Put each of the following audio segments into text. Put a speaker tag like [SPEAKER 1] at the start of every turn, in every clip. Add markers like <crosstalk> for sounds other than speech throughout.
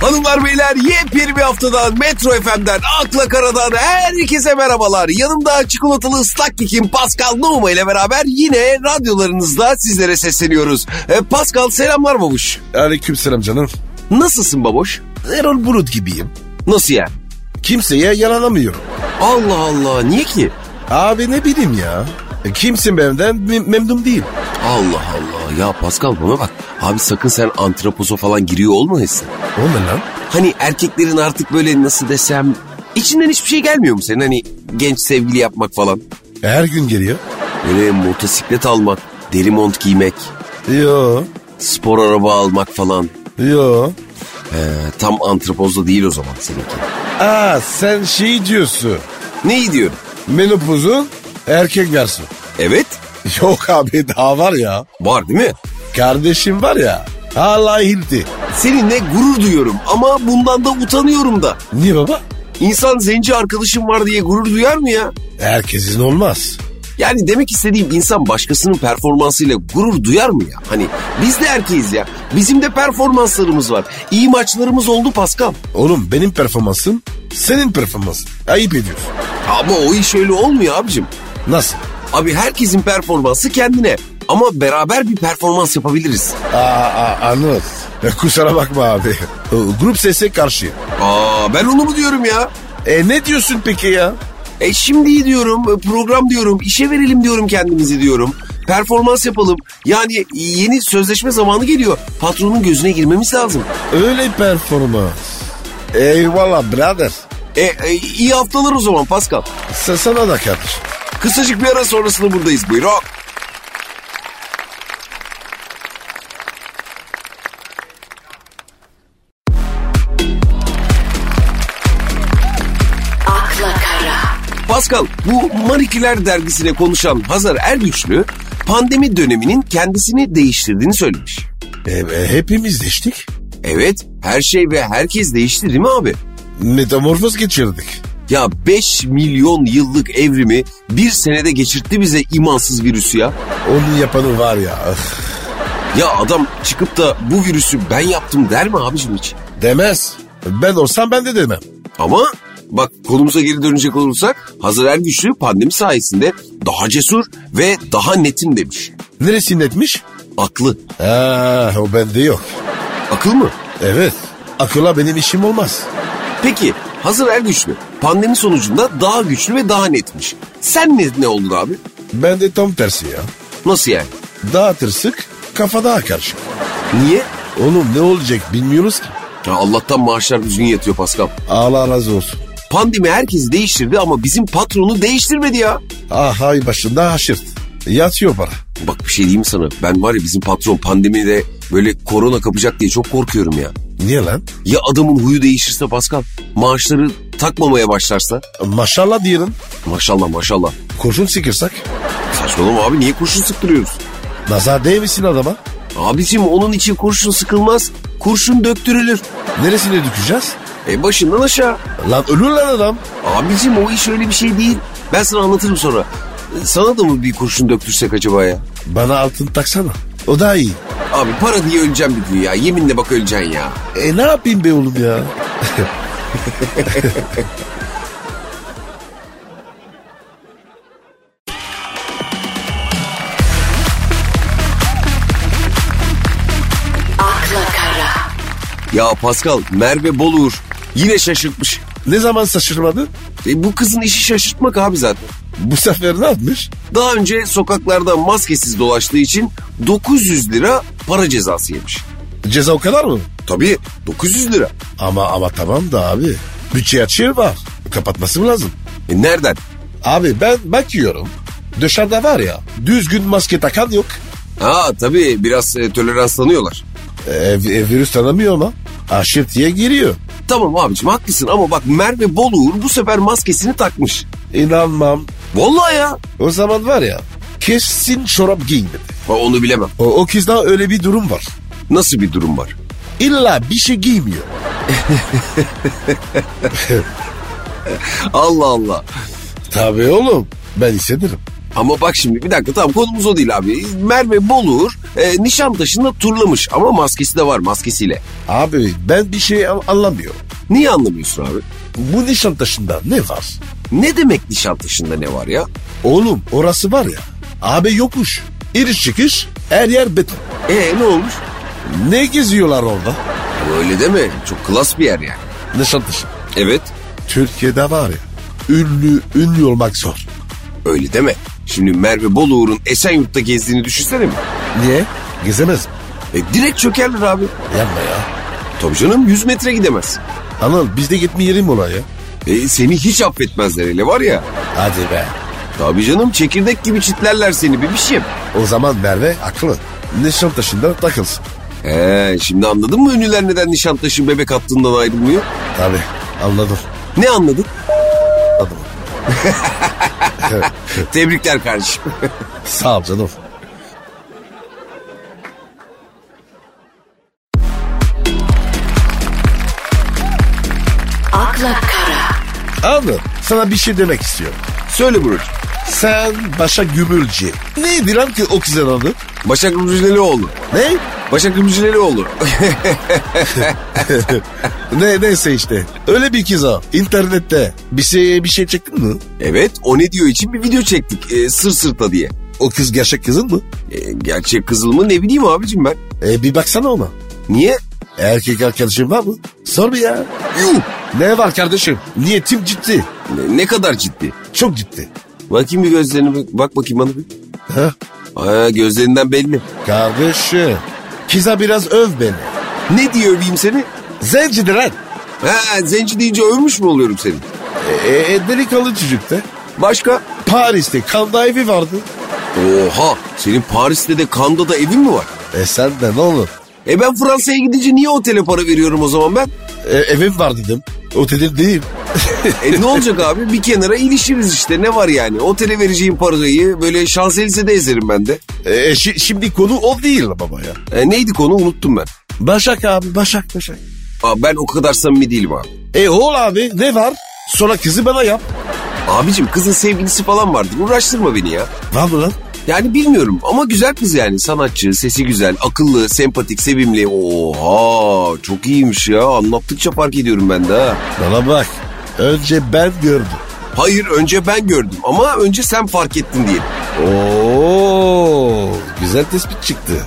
[SPEAKER 1] Hanımlar beyler yepyeni bir haftadan Metro FM'den Akla Karadan herkese merhabalar. Yanımda çikolatalı ıslak kekim Pascal Nouma ile beraber yine radyolarınızda sizlere sesleniyoruz. E, Pascal selamlar babuş.
[SPEAKER 2] Aleykümselam canım.
[SPEAKER 1] Nasılsın babuş?
[SPEAKER 2] Erol Bulut gibiyim.
[SPEAKER 1] Nasıl yani?
[SPEAKER 2] Kimseye yaranamıyorum.
[SPEAKER 1] Allah Allah niye ki?
[SPEAKER 2] Abi ne bileyim ya. E, Kimsin benden me- memnun değil.
[SPEAKER 1] Allah Allah ya Pascal bana bak. Abi sakın sen antropoza falan giriyor olmayasın.
[SPEAKER 2] O ne lan?
[SPEAKER 1] Hani erkeklerin artık böyle nasıl desem içinden hiçbir şey gelmiyor mu senin hani genç sevgili yapmak falan?
[SPEAKER 2] E, Her gün geliyor.
[SPEAKER 1] Böyle motosiklet almak, deri mont giymek,
[SPEAKER 2] Yo.
[SPEAKER 1] spor araba almak falan.
[SPEAKER 2] Yo.
[SPEAKER 1] Ee, tam antropozda değil o zaman seninki.
[SPEAKER 2] Aa sen şey diyorsun.
[SPEAKER 1] Neyi diyorum?
[SPEAKER 2] Menopozun erkek versiyonu.
[SPEAKER 1] Evet
[SPEAKER 2] <laughs> Yok abi daha var ya.
[SPEAKER 1] var değil mi?
[SPEAKER 2] Kardeşim var ya. Hala hilti.
[SPEAKER 1] Seninle gurur duyuyorum ama bundan da utanıyorum da.
[SPEAKER 2] Niye baba?
[SPEAKER 1] İnsan zenci arkadaşım var diye gurur duyar mı ya?
[SPEAKER 2] Herkesin olmaz.
[SPEAKER 1] Yani demek istediğim insan başkasının performansıyla gurur duyar mı ya? Hani biz de erkeğiz ya. Bizim de performanslarımız var. İyi maçlarımız oldu Pascal.
[SPEAKER 2] Oğlum benim performansım senin performansın. Ayıp ediyorsun.
[SPEAKER 1] Ama o iş öyle olmuyor abicim.
[SPEAKER 2] Nasıl?
[SPEAKER 1] Abi herkesin performansı kendine. Ama beraber bir performans yapabiliriz.
[SPEAKER 2] Aa, aa anladım. E, Kusura bakma abi. O, Grup sese karşı.
[SPEAKER 1] Aa ben onu mu diyorum ya?
[SPEAKER 2] E ne diyorsun peki ya?
[SPEAKER 1] E şimdi iyi diyorum, program diyorum, işe verelim diyorum kendimizi diyorum. Performans yapalım. Yani yeni sözleşme zamanı geliyor. Patronun gözüne girmemiz lazım.
[SPEAKER 2] Öyle performans. Eyvallah birader.
[SPEAKER 1] E, e, iyi haftalar o zaman Pascal.
[SPEAKER 2] Sa- sana da kardeş.
[SPEAKER 1] Kısacık bir ara sonrasında buradayız. Buyurun.
[SPEAKER 3] akla kara,
[SPEAKER 1] Pascal bu Marikiler dergisine konuşan Hazar Ergüçlü pandemi döneminin kendisini değiştirdiğini söylemiş.
[SPEAKER 2] E, e, hepimiz değiştik.
[SPEAKER 1] Evet her şey ve herkes değişti değil mi abi?
[SPEAKER 2] Metamorfoz geçirdik.
[SPEAKER 1] Ya 5 milyon yıllık evrimi bir senede geçirtti bize imansız virüsü ya.
[SPEAKER 2] Onun yapanı var ya. ah, öf.
[SPEAKER 1] Ya adam çıkıp da bu virüsü ben yaptım der mi abicim hiç?
[SPEAKER 2] Demez. Ben olsam ben de demem.
[SPEAKER 1] Ama bak konumuza geri dönecek olursak Hazır Ergüçlü pandemi sayesinde daha cesur ve daha netim demiş.
[SPEAKER 2] Neresi netmiş?
[SPEAKER 1] Aklı.
[SPEAKER 2] Aa, o bende yok.
[SPEAKER 1] Akıl mı?
[SPEAKER 2] Evet. Akıla benim işim olmaz.
[SPEAKER 1] Peki Hazır Ergüçlü pandemi sonucunda daha güçlü ve daha netmiş. Sen ne, ne oldun abi?
[SPEAKER 2] Ben de tam tersi ya.
[SPEAKER 1] Nasıl yani?
[SPEAKER 2] Daha tırsık, kafa daha karışık.
[SPEAKER 1] Niye?
[SPEAKER 2] Oğlum ne olacak bilmiyoruz ki.
[SPEAKER 1] Ya Allah'tan maaşlar düzgün yatıyor Pascal.
[SPEAKER 2] Allah razı olsun.
[SPEAKER 1] Pandemi herkesi değiştirdi ama bizim patronu değiştirmedi ya.
[SPEAKER 2] Ah hay başında haşırt. Yatıyor para.
[SPEAKER 1] Bak bir şey diyeyim mi sana. Ben var ya bizim patron pandemide böyle korona kapacak diye çok korkuyorum ya.
[SPEAKER 2] Niye lan?
[SPEAKER 1] Ya adamın huyu değişirse Pascal? Maaşları takmamaya başlarsa?
[SPEAKER 2] Maşallah diyelim.
[SPEAKER 1] Maşallah maşallah.
[SPEAKER 2] Kurşun sikirsek.
[SPEAKER 1] Saçmalama abi niye kurşun sıktırıyoruz?
[SPEAKER 2] Nazar değmesin adama.
[SPEAKER 1] Abicim onun için kurşun sıkılmaz. Kurşun döktürülür.
[SPEAKER 2] Neresine dökeceğiz?
[SPEAKER 1] E başından aşağı.
[SPEAKER 2] Lan ölür lan adam.
[SPEAKER 1] Abicim o iş öyle bir şey değil. Ben sana anlatırım sonra. E, Sana da mı bir kurşun döktürsek acaba ya?
[SPEAKER 2] Bana altın taksana. O daha iyi.
[SPEAKER 1] Abi para diye öleceğim bir gün ya. Yeminle bak öleceksin ya.
[SPEAKER 2] E ne yapayım be oğlum ya?
[SPEAKER 3] akla kara,
[SPEAKER 1] Ya Pascal Merve Bolur yine şaşırtmış.
[SPEAKER 2] Ne zaman şaşırmadı?
[SPEAKER 1] E, bu kızın işi şaşırtmak abi zaten.
[SPEAKER 2] Bu sefer ne yapmış?
[SPEAKER 1] Daha önce sokaklarda maskesiz dolaştığı için 900 lira para cezası yemiş.
[SPEAKER 2] Ceza o kadar mı?
[SPEAKER 1] Tabii 900 lira.
[SPEAKER 2] Ama ama tamam da abi. Bütçe açığı var. Kapatması mı lazım?
[SPEAKER 1] E nereden?
[SPEAKER 2] Abi ben bakıyorum. Dışarıda var ya düzgün maske takan yok.
[SPEAKER 1] Ha tabii biraz e, tolerans tanıyorlar.
[SPEAKER 2] E, e, virüs tanımıyor ama. Aşırtıya giriyor.
[SPEAKER 1] Tamam abicim haklısın ama bak Merve Boluğur bu sefer maskesini takmış.
[SPEAKER 2] İnanmam.
[SPEAKER 1] Vallahi ya.
[SPEAKER 2] O zaman var ya kesin çorap giymedi.
[SPEAKER 1] Ha, onu bilemem.
[SPEAKER 2] O, o kızda öyle bir durum var.
[SPEAKER 1] Nasıl bir durum var?
[SPEAKER 2] İlla bir şey giymiyor.
[SPEAKER 1] Allah Allah.
[SPEAKER 2] Tabii oğlum ben hissederim.
[SPEAKER 1] Ama bak şimdi bir dakika tamam konumuz o değil abi. Merve Bolur e, Nişantaşı'nda turlamış ama maskesi de var maskesiyle.
[SPEAKER 2] Abi ben bir şey an- anlamıyorum.
[SPEAKER 1] Niye anlamıyorsun abi?
[SPEAKER 2] Bu Nişantaşı'nda ne var?
[SPEAKER 1] Ne demek Nişantaşı'nda ne var ya?
[SPEAKER 2] Oğlum orası var ya. Abi yokuş. İriş çıkış her yer beton.
[SPEAKER 1] E ne olmuş?
[SPEAKER 2] Ne geziyorlar orada?
[SPEAKER 1] Ama öyle deme çok klas bir yer yani.
[SPEAKER 2] Nişantaşı.
[SPEAKER 1] Evet
[SPEAKER 2] Türkiye'de var ya. Ünlü, ünlü olmak zor.
[SPEAKER 1] öyle deme. Şimdi Merve Boluğur'un Esenyurt'ta gezdiğini düşünsene mi?
[SPEAKER 2] Niye? Gezemez mi?
[SPEAKER 1] E, direkt çökerler abi.
[SPEAKER 2] Yapma ya.
[SPEAKER 1] Tabii canım 100 metre gidemez.
[SPEAKER 2] Anıl bizde gitmeyelim oraya.
[SPEAKER 1] E, seni hiç affetmezler hele var ya.
[SPEAKER 2] Hadi be.
[SPEAKER 1] Tabii canım çekirdek gibi çitlerler seni bir biçim.
[SPEAKER 2] O zaman Merve haklı. Nişantaşı'nda takılsın.
[SPEAKER 1] He şimdi anladın mı ünlüler neden Nişantaşı bebek hattından ayrılmıyor?
[SPEAKER 2] Tabii anladım. <laughs>
[SPEAKER 1] Ne anladık? <laughs>
[SPEAKER 2] Anladım.
[SPEAKER 1] Tebrikler kardeşim.
[SPEAKER 2] Sağ ol canım.
[SPEAKER 3] akla kara,
[SPEAKER 2] Anıl sana bir şey demek istiyorum.
[SPEAKER 1] Söyle Burcu.
[SPEAKER 2] Sen başa gümülci. Nedir lan ki o kızın adı?
[SPEAKER 1] Başak Rüzgarlıoğlu.
[SPEAKER 2] Ne? <laughs>
[SPEAKER 1] Başak Rüzgarlıoğlu.
[SPEAKER 2] ne neyse işte. Öyle bir kız o. İnternette. Bir şey bir şey çektin mi?
[SPEAKER 1] <laughs> evet o ne diyor için bir video çektik. e, sır sırta diye.
[SPEAKER 2] O kız gerçek kızın mı?
[SPEAKER 1] E, gerçek kızıl mı ne bileyim abicim ben.
[SPEAKER 2] E bir baksana ona.
[SPEAKER 1] Niye?
[SPEAKER 2] Erkek arkadaşın var mı? Sor bir ya.
[SPEAKER 1] Yuh!
[SPEAKER 2] Ne var kardeşim? Niyetim ciddi.
[SPEAKER 1] Ne, ne kadar ciddi.
[SPEAKER 2] Çok ciddi.
[SPEAKER 1] Bakayım bir gözlerine bak, bak bakayım bana bir.
[SPEAKER 2] Ha?
[SPEAKER 1] Ha, gözlerinden belli.
[SPEAKER 2] Kardeşim. Kıza biraz öv beni.
[SPEAKER 1] Ne diye öveyim seni?
[SPEAKER 2] Zencidir lan.
[SPEAKER 1] Ha, zenci deyince övmüş mü oluyorum seni?
[SPEAKER 2] E, e, delikanlı çocukta.
[SPEAKER 1] Başka?
[SPEAKER 2] Paris'te kanda evi vardı.
[SPEAKER 1] Oha senin Paris'te de Kanda da evin mi var?
[SPEAKER 2] E sen de ne olur.
[SPEAKER 1] E ben Fransa'ya gidince niye otele para veriyorum o zaman ben?
[SPEAKER 2] E, evim var dedim. Otelim değil.
[SPEAKER 1] E ne olacak abi bir kenara ilişiriz işte ne var yani? Otele vereceğim parayı böyle Şanzelize'de ezerim ben de.
[SPEAKER 2] E, şi- şimdi konu o değil baba ya.
[SPEAKER 1] E, neydi konu unuttum ben.
[SPEAKER 2] Başak abi Başak Başak.
[SPEAKER 1] Aa, ben o kadar samimi değilim abi.
[SPEAKER 2] E oğul abi ne var? Sonra kızı bana yap.
[SPEAKER 1] Abicim kızın sevgilisi falan vardır uğraştırma beni ya.
[SPEAKER 2] Var mı lan?
[SPEAKER 1] Yani bilmiyorum ama güzel kız yani sanatçı, sesi güzel, akıllı, sempatik, sevimli. Oha çok iyiymiş ya anlattıkça fark ediyorum ben de ha.
[SPEAKER 2] Bana bak. Önce ben gördüm.
[SPEAKER 1] Hayır önce ben gördüm ama önce sen fark ettin diyelim.
[SPEAKER 2] Oo, güzel tespit çıktı.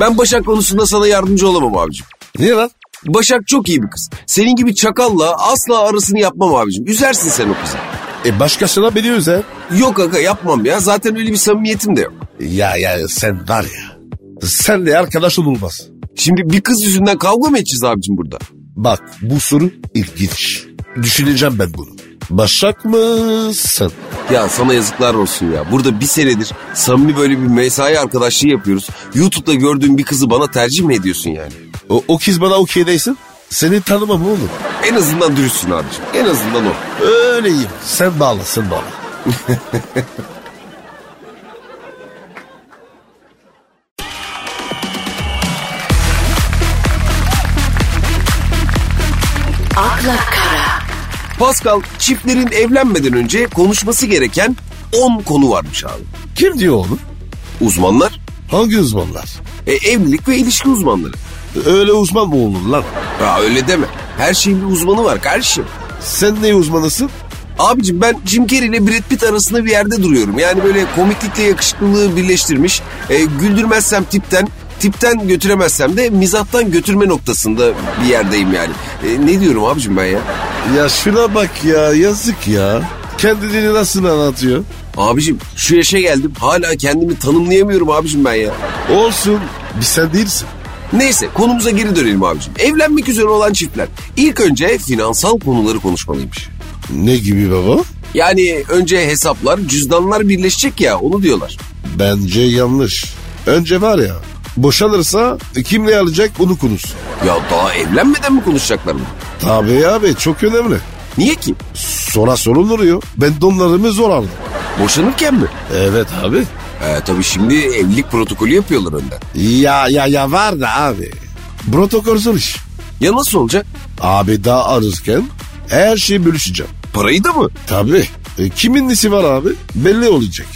[SPEAKER 1] Ben Başak konusunda sana yardımcı olamam abicim.
[SPEAKER 2] Niye lan?
[SPEAKER 1] Başak çok iyi bir kız. Senin gibi çakalla asla arasını yapmam abicim. Üzersin sen o kızı.
[SPEAKER 2] E başkasına biliyoruz ha.
[SPEAKER 1] Yok aga yapmam ya. Zaten öyle bir samimiyetim de yok.
[SPEAKER 2] Ya ya sen var ya. Senle arkadaş olmaz.
[SPEAKER 1] Şimdi bir kız yüzünden kavga mı edeceğiz abicim burada?
[SPEAKER 2] Bak bu soru ilginç. Düşüneceğim ben bunu. Başak mısın?
[SPEAKER 1] Ya sana yazıklar olsun ya. Burada bir senedir samimi böyle bir mesai arkadaşlığı yapıyoruz. YouTube'da gördüğün bir kızı bana tercih mi ediyorsun yani?
[SPEAKER 2] O, o kız bana okey değilsin. Seni tanımam oğlum.
[SPEAKER 1] En azından dürüstsün abicim. En azından o.
[SPEAKER 2] Öyleyim. Sen bağlasın bana.
[SPEAKER 3] akla kara,
[SPEAKER 1] Pascal çiftlerin evlenmeden önce konuşması gereken 10 konu varmış abi.
[SPEAKER 2] Kim diyor oğlum?
[SPEAKER 1] Uzmanlar
[SPEAKER 2] Hangi uzmanlar?
[SPEAKER 1] E, evlilik ve ilişki uzmanları.
[SPEAKER 2] Öyle uzman mı olur lan?
[SPEAKER 1] Ya öyle deme. Her şeyin bir uzmanı var kardeşim.
[SPEAKER 2] Sen ne uzmanısın?
[SPEAKER 1] Abicim ben Jim Carrey ile Brad Pitt arasında bir yerde duruyorum. Yani böyle komiklikle yakışıklılığı birleştirmiş. E, güldürmezsem tipten, tipten götüremezsem de mizahtan götürme noktasında bir yerdeyim yani. E, ne diyorum abicim ben ya?
[SPEAKER 2] Ya şuna bak ya yazık ya. Kendini nasıl anlatıyor?
[SPEAKER 1] Abicim şu yaşa geldim hala kendimi tanımlayamıyorum abicim ben ya.
[SPEAKER 2] Olsun bir sen değilsin.
[SPEAKER 1] Neyse konumuza geri dönelim abicim. Evlenmek üzere olan çiftler ilk önce finansal konuları konuşmalıymış.
[SPEAKER 2] Ne gibi baba?
[SPEAKER 1] Yani önce hesaplar, cüzdanlar birleşecek ya onu diyorlar.
[SPEAKER 2] Bence yanlış. Önce var ya boşanırsa kim ne alacak onu konuşsun.
[SPEAKER 1] Ya daha evlenmeden mi konuşacaklar mı?
[SPEAKER 2] Tabii abi çok önemli.
[SPEAKER 1] Niye ki?
[SPEAKER 2] Sonra sorulur ya. Ben donlarımı zor aldım.
[SPEAKER 1] Boşanırken mi?
[SPEAKER 2] Evet abi.
[SPEAKER 1] Ee, tabii şimdi evlilik protokolü yapıyorlar önden.
[SPEAKER 2] Ya ya ya var da abi. Protokol zor iş.
[SPEAKER 1] Ya nasıl olacak?
[SPEAKER 2] Abi daha arızken her şeyi bölüşeceğim.
[SPEAKER 1] Parayı da mı?
[SPEAKER 2] Tabii. E, kimin nesi var abi? Belli olacak.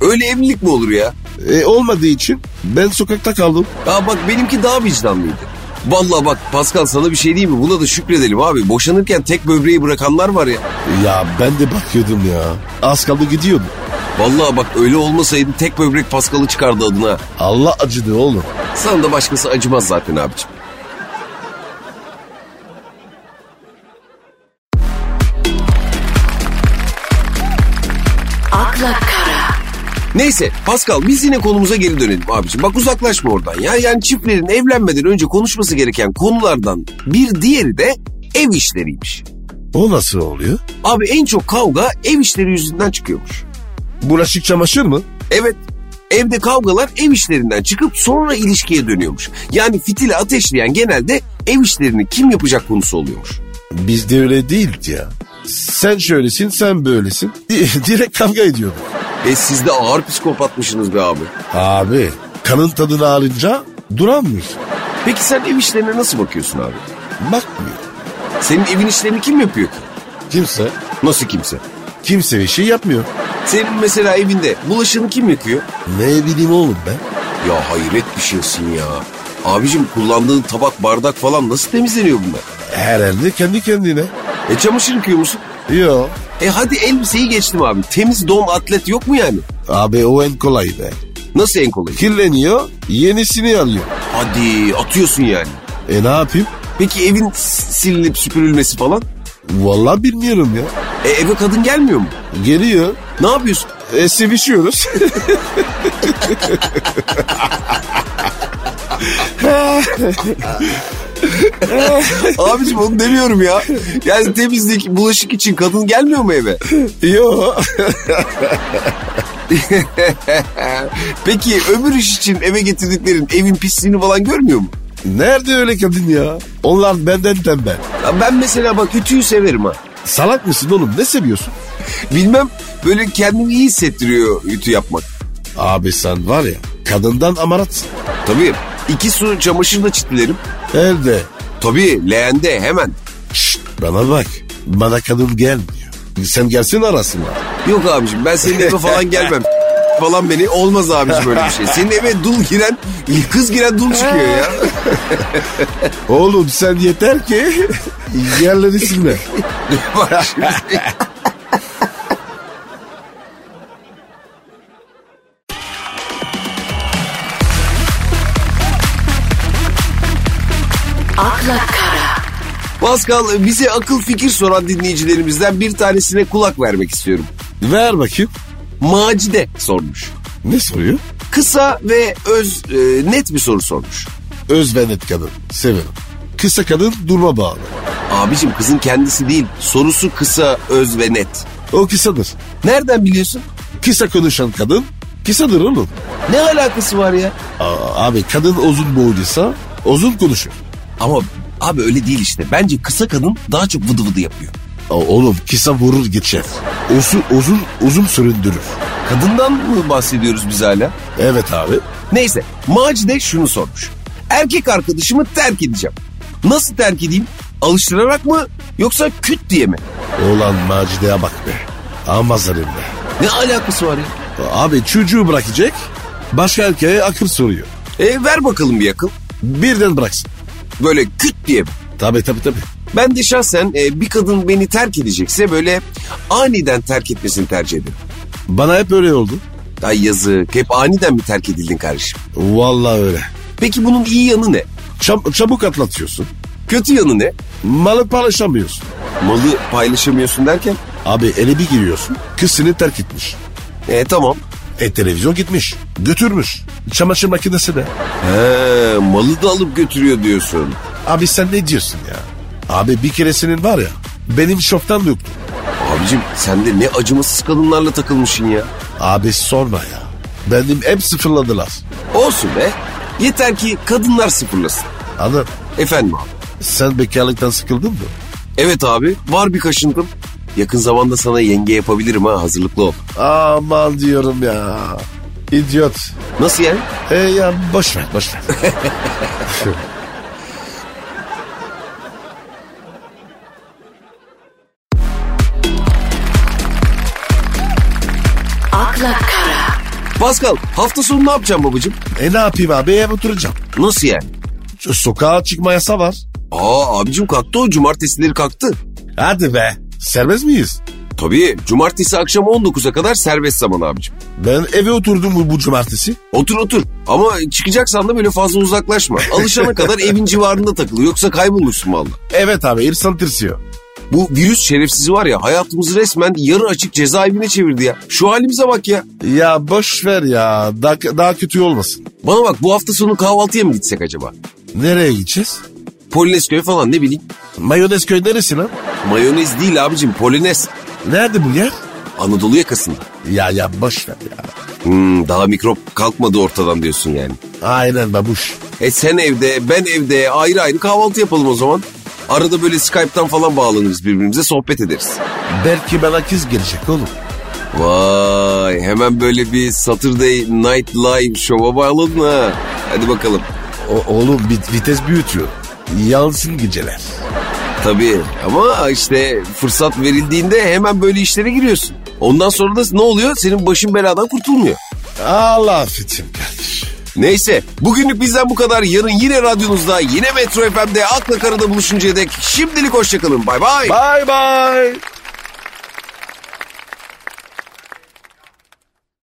[SPEAKER 1] Öyle evlilik mi olur ya?
[SPEAKER 2] E, olmadığı için ben sokakta kaldım.
[SPEAKER 1] Ya bak benimki daha vicdanlıydı. Vallahi bak Pascal sana bir şey diyeyim mi? Buna da şükredelim abi. Boşanırken tek böbreği bırakanlar var ya.
[SPEAKER 2] Ya ben de bakıyordum ya. Az kaldı gidiyordum.
[SPEAKER 1] Vallahi bak öyle olmasaydı tek böbrek Pascal'ı çıkardı adına.
[SPEAKER 2] Allah acıdı oğlum.
[SPEAKER 1] Sana da başkası acımaz zaten abicim.
[SPEAKER 3] akla kara,
[SPEAKER 1] Neyse Pascal biz yine konumuza geri dönelim abicim. Bak uzaklaşma oradan ya. Yani çiftlerin evlenmeden önce konuşması gereken konulardan bir diğeri de ev işleriymiş.
[SPEAKER 2] O nasıl oluyor?
[SPEAKER 1] Abi en çok kavga ev işleri yüzünden çıkıyormuş.
[SPEAKER 2] Bulaşık çamaşır mı?
[SPEAKER 1] Evet. Evde kavgalar ev işlerinden çıkıp sonra ilişkiye dönüyormuş. Yani fitili ateşleyen genelde ev işlerini kim yapacak konusu oluyormuş.
[SPEAKER 2] Bizde öyle değildi ya. Sen şöylesin, sen böylesin. <laughs> Di- Direkt kavga ediyorduk.
[SPEAKER 1] E siz de ağır psikopatmışsınız be abi.
[SPEAKER 2] Abi kanın tadını alınca duramıyor.
[SPEAKER 1] Peki sen ev işlerine nasıl bakıyorsun abi?
[SPEAKER 2] Bakmıyor.
[SPEAKER 1] Senin evin işlerini kim yapıyor ki?
[SPEAKER 2] Kimse,
[SPEAKER 1] Nasıl kimse?
[SPEAKER 2] kimse bir şey yapmıyor.
[SPEAKER 1] Senin mesela evinde bulaşığını kim yıkıyor?
[SPEAKER 2] Ne bileyim oğlum ben.
[SPEAKER 1] Ya hayret bir şeysin ya. Abicim kullandığın tabak bardak falan nasıl temizleniyor bunlar?
[SPEAKER 2] Herhalde kendi kendine.
[SPEAKER 1] E çamaşır yıkıyor musun?
[SPEAKER 2] Yo.
[SPEAKER 1] E hadi elbiseyi geçtim abi. Temiz don atlet yok mu yani?
[SPEAKER 2] Abi o en kolay be.
[SPEAKER 1] Nasıl en kolayı?
[SPEAKER 2] Kirleniyor, yenisini alıyor.
[SPEAKER 1] Hadi atıyorsun yani.
[SPEAKER 2] E ne yapayım?
[SPEAKER 1] Peki evin s- silinip süpürülmesi falan?
[SPEAKER 2] Vallahi bilmiyorum ya.
[SPEAKER 1] E eve kadın gelmiyor mu?
[SPEAKER 2] Geliyor,
[SPEAKER 1] Ne yapıyorsun?
[SPEAKER 2] e, sevişiyoruz. <laughs>
[SPEAKER 1] Abicim onu demiyorum ya. Yani temizlik, bulaşık için kadın gelmiyor mu eve?
[SPEAKER 2] Yo.
[SPEAKER 1] Peki öbür iş için eve getirdiklerin evin pisliğini falan görmüyor mu?
[SPEAKER 2] Nerede öyle kadın ya? Onlar benden tembel.
[SPEAKER 1] Ya ben mesela bak ütüyü severim ha.
[SPEAKER 2] Salak mısın oğlum? Ne seviyorsun?
[SPEAKER 1] Bilmem böyle kendimi iyi hissettiriyor ütü yapmak.
[SPEAKER 2] Abi sen var ya kadından amarat.
[SPEAKER 1] Tabii iki su çamaşırla çitlerim.
[SPEAKER 2] Elde.
[SPEAKER 1] Tabii leğende hemen.
[SPEAKER 2] Şşt bana bak. Bana kadın gelmiyor. Sen gelsin arasınlar.
[SPEAKER 1] Yok abicim ben senin eve falan gelmem. falan beni olmaz abicim böyle bir şey. Senin eve dul giren, kız giren dul çıkıyor ya.
[SPEAKER 2] Oğlum sen yeter ki <laughs> yerleri silme.
[SPEAKER 1] Bak şimdi.
[SPEAKER 3] akla kara,
[SPEAKER 1] Pascal bize akıl fikir soran dinleyicilerimizden bir tanesine kulak vermek istiyorum.
[SPEAKER 2] Ver bakayım.
[SPEAKER 1] Macide sormuş.
[SPEAKER 2] Ne soruyor?
[SPEAKER 1] Kısa ve öz e, net bir soru sormuş.
[SPEAKER 2] Özvenet kadın. Severim. Kısa kadın durma bağlı.
[SPEAKER 1] Abicim kızın kendisi değil sorusu kısa, öz ve net.
[SPEAKER 2] O kısadır.
[SPEAKER 1] Nereden biliyorsun?
[SPEAKER 2] Kısa konuşan kadın kısadır oğlum.
[SPEAKER 1] Ne alakası var ya?
[SPEAKER 2] Aa, abi kadın uzun boyluysa uzun konuşur.
[SPEAKER 1] Ama abi öyle değil işte. Bence kısa kadın daha çok vıdı vıdı yapıyor.
[SPEAKER 2] Aa, oğlum kısa vurur geçer. Uzun, uzun, uzun süründürür.
[SPEAKER 1] Kadından mı bahsediyoruz biz hala?
[SPEAKER 2] Evet abi.
[SPEAKER 1] Neyse Macide şunu sormuş. Erkek arkadaşımı terk edeceğim. Nasıl terk edeyim? Alıştırarak mı yoksa küt diye mi?
[SPEAKER 2] Olan Macide'ye bak be. Ama zalim be.
[SPEAKER 1] Ne alakası var ya?
[SPEAKER 2] Abi çocuğu bırakacak. Başka erkeğe akıl soruyor.
[SPEAKER 1] E ver bakalım bir akıl.
[SPEAKER 2] Birden bıraksın.
[SPEAKER 1] Böyle küt diye mi?
[SPEAKER 2] Tabii tabii tabii.
[SPEAKER 1] Ben de şahsen e, bir kadın beni terk edecekse böyle aniden terk etmesini tercih ederim.
[SPEAKER 2] Bana hep öyle oldu.
[SPEAKER 1] Ay yazık hep aniden mi terk edildin kardeşim?
[SPEAKER 2] Vallahi öyle.
[SPEAKER 1] Peki bunun iyi yanı ne?
[SPEAKER 2] Çab- çabuk atlatıyorsun.
[SPEAKER 1] Kötü yanı ne?
[SPEAKER 2] Malı paylaşamıyorsun.
[SPEAKER 1] Malı paylaşamıyorsun derken?
[SPEAKER 2] Abi ele bir giriyorsun. Kız seni terk etmiş.
[SPEAKER 1] E tamam.
[SPEAKER 2] E televizyon gitmiş. Götürmüş. Çamaşır makinesi de.
[SPEAKER 1] He, malı da alıp götürüyor diyorsun.
[SPEAKER 2] Abi sen ne diyorsun ya? Abi bir keresinin var ya. Benim şoftan döktü.
[SPEAKER 1] Abicim sen de ne acımasız kadınlarla takılmışsın ya.
[SPEAKER 2] Abi sorma ya. Benim hep sıfırladılar.
[SPEAKER 1] Olsun be. Yeter ki kadınlar sıfırlasın.
[SPEAKER 2] Anladın?
[SPEAKER 1] Efendim abi.
[SPEAKER 2] Sen bekarlıktan sıkıldın mı?
[SPEAKER 1] Evet abi var bir kaşıntım. Yakın zamanda sana yenge yapabilirim ha hazırlıklı ol.
[SPEAKER 2] Aman diyorum ya. İdiot.
[SPEAKER 1] Nasıl yani?
[SPEAKER 2] E ya boş ver boş ver.
[SPEAKER 3] akla kara,
[SPEAKER 1] Pascal hafta sonu ne yapacağım babacığım?
[SPEAKER 2] E ne yapayım abi ev oturacağım.
[SPEAKER 1] Nasıl yani?
[SPEAKER 2] Şu sokağa çıkma yasa var.
[SPEAKER 1] Aa abicim kalktı o cumartesileri kalktı.
[SPEAKER 2] Hadi be. Serbest miyiz?
[SPEAKER 1] Tabii cumartesi akşam 19'a kadar serbest zaman abicim.
[SPEAKER 2] Ben eve oturdum bu, bu cumartesi.
[SPEAKER 1] Otur otur ama çıkacaksan da böyle fazla uzaklaşma. Alışana kadar evin civarında takıl yoksa kaybolursun valla.
[SPEAKER 2] Evet abi insan tırsıyor.
[SPEAKER 1] Bu virüs şerefsizi var ya hayatımızı resmen yarı açık cezaevine çevirdi ya. Şu halimize bak ya.
[SPEAKER 2] Ya boş ver ya. Daha, daha kötü olmasın.
[SPEAKER 1] Bana bak bu hafta sonu kahvaltıya mı gitsek acaba?
[SPEAKER 2] Nereye gideceğiz?
[SPEAKER 1] Polinesko'ya falan ne bileyim.
[SPEAKER 2] Mayonez köy neresi lan?
[SPEAKER 1] Mayonez değil abicim polines.
[SPEAKER 2] Nerede bu yer?
[SPEAKER 1] Anadolu yakasında.
[SPEAKER 2] Ya ya boş ver ya.
[SPEAKER 1] Hmm, daha mikrop kalkmadı ortadan diyorsun yani.
[SPEAKER 2] Aynen babuş.
[SPEAKER 1] E sen evde, ben evde ayrı ayrı kahvaltı yapalım o zaman. Arada böyle Skype'tan falan bağlanırız birbirimize sohbet ederiz.
[SPEAKER 2] Belki bana kız gelecek oğlum.
[SPEAKER 1] Vay hemen böyle bir Saturday Night Live şova bağladın ha. Hadi bakalım.
[SPEAKER 2] O- oğlum bit- vites büyütüyor. Yansın geceler.
[SPEAKER 1] Tabii ama işte fırsat verildiğinde hemen böyle işlere giriyorsun. Ondan sonra da ne oluyor? Senin başın beladan kurtulmuyor.
[SPEAKER 2] Allah affetsin kardeşim.
[SPEAKER 1] Neyse bugünlük bizden bu kadar. Yarın yine radyonuzda yine Metro FM'de Akla Karada buluşuncaya dek şimdilik hoşçakalın. Bay bay.
[SPEAKER 2] Bye bye.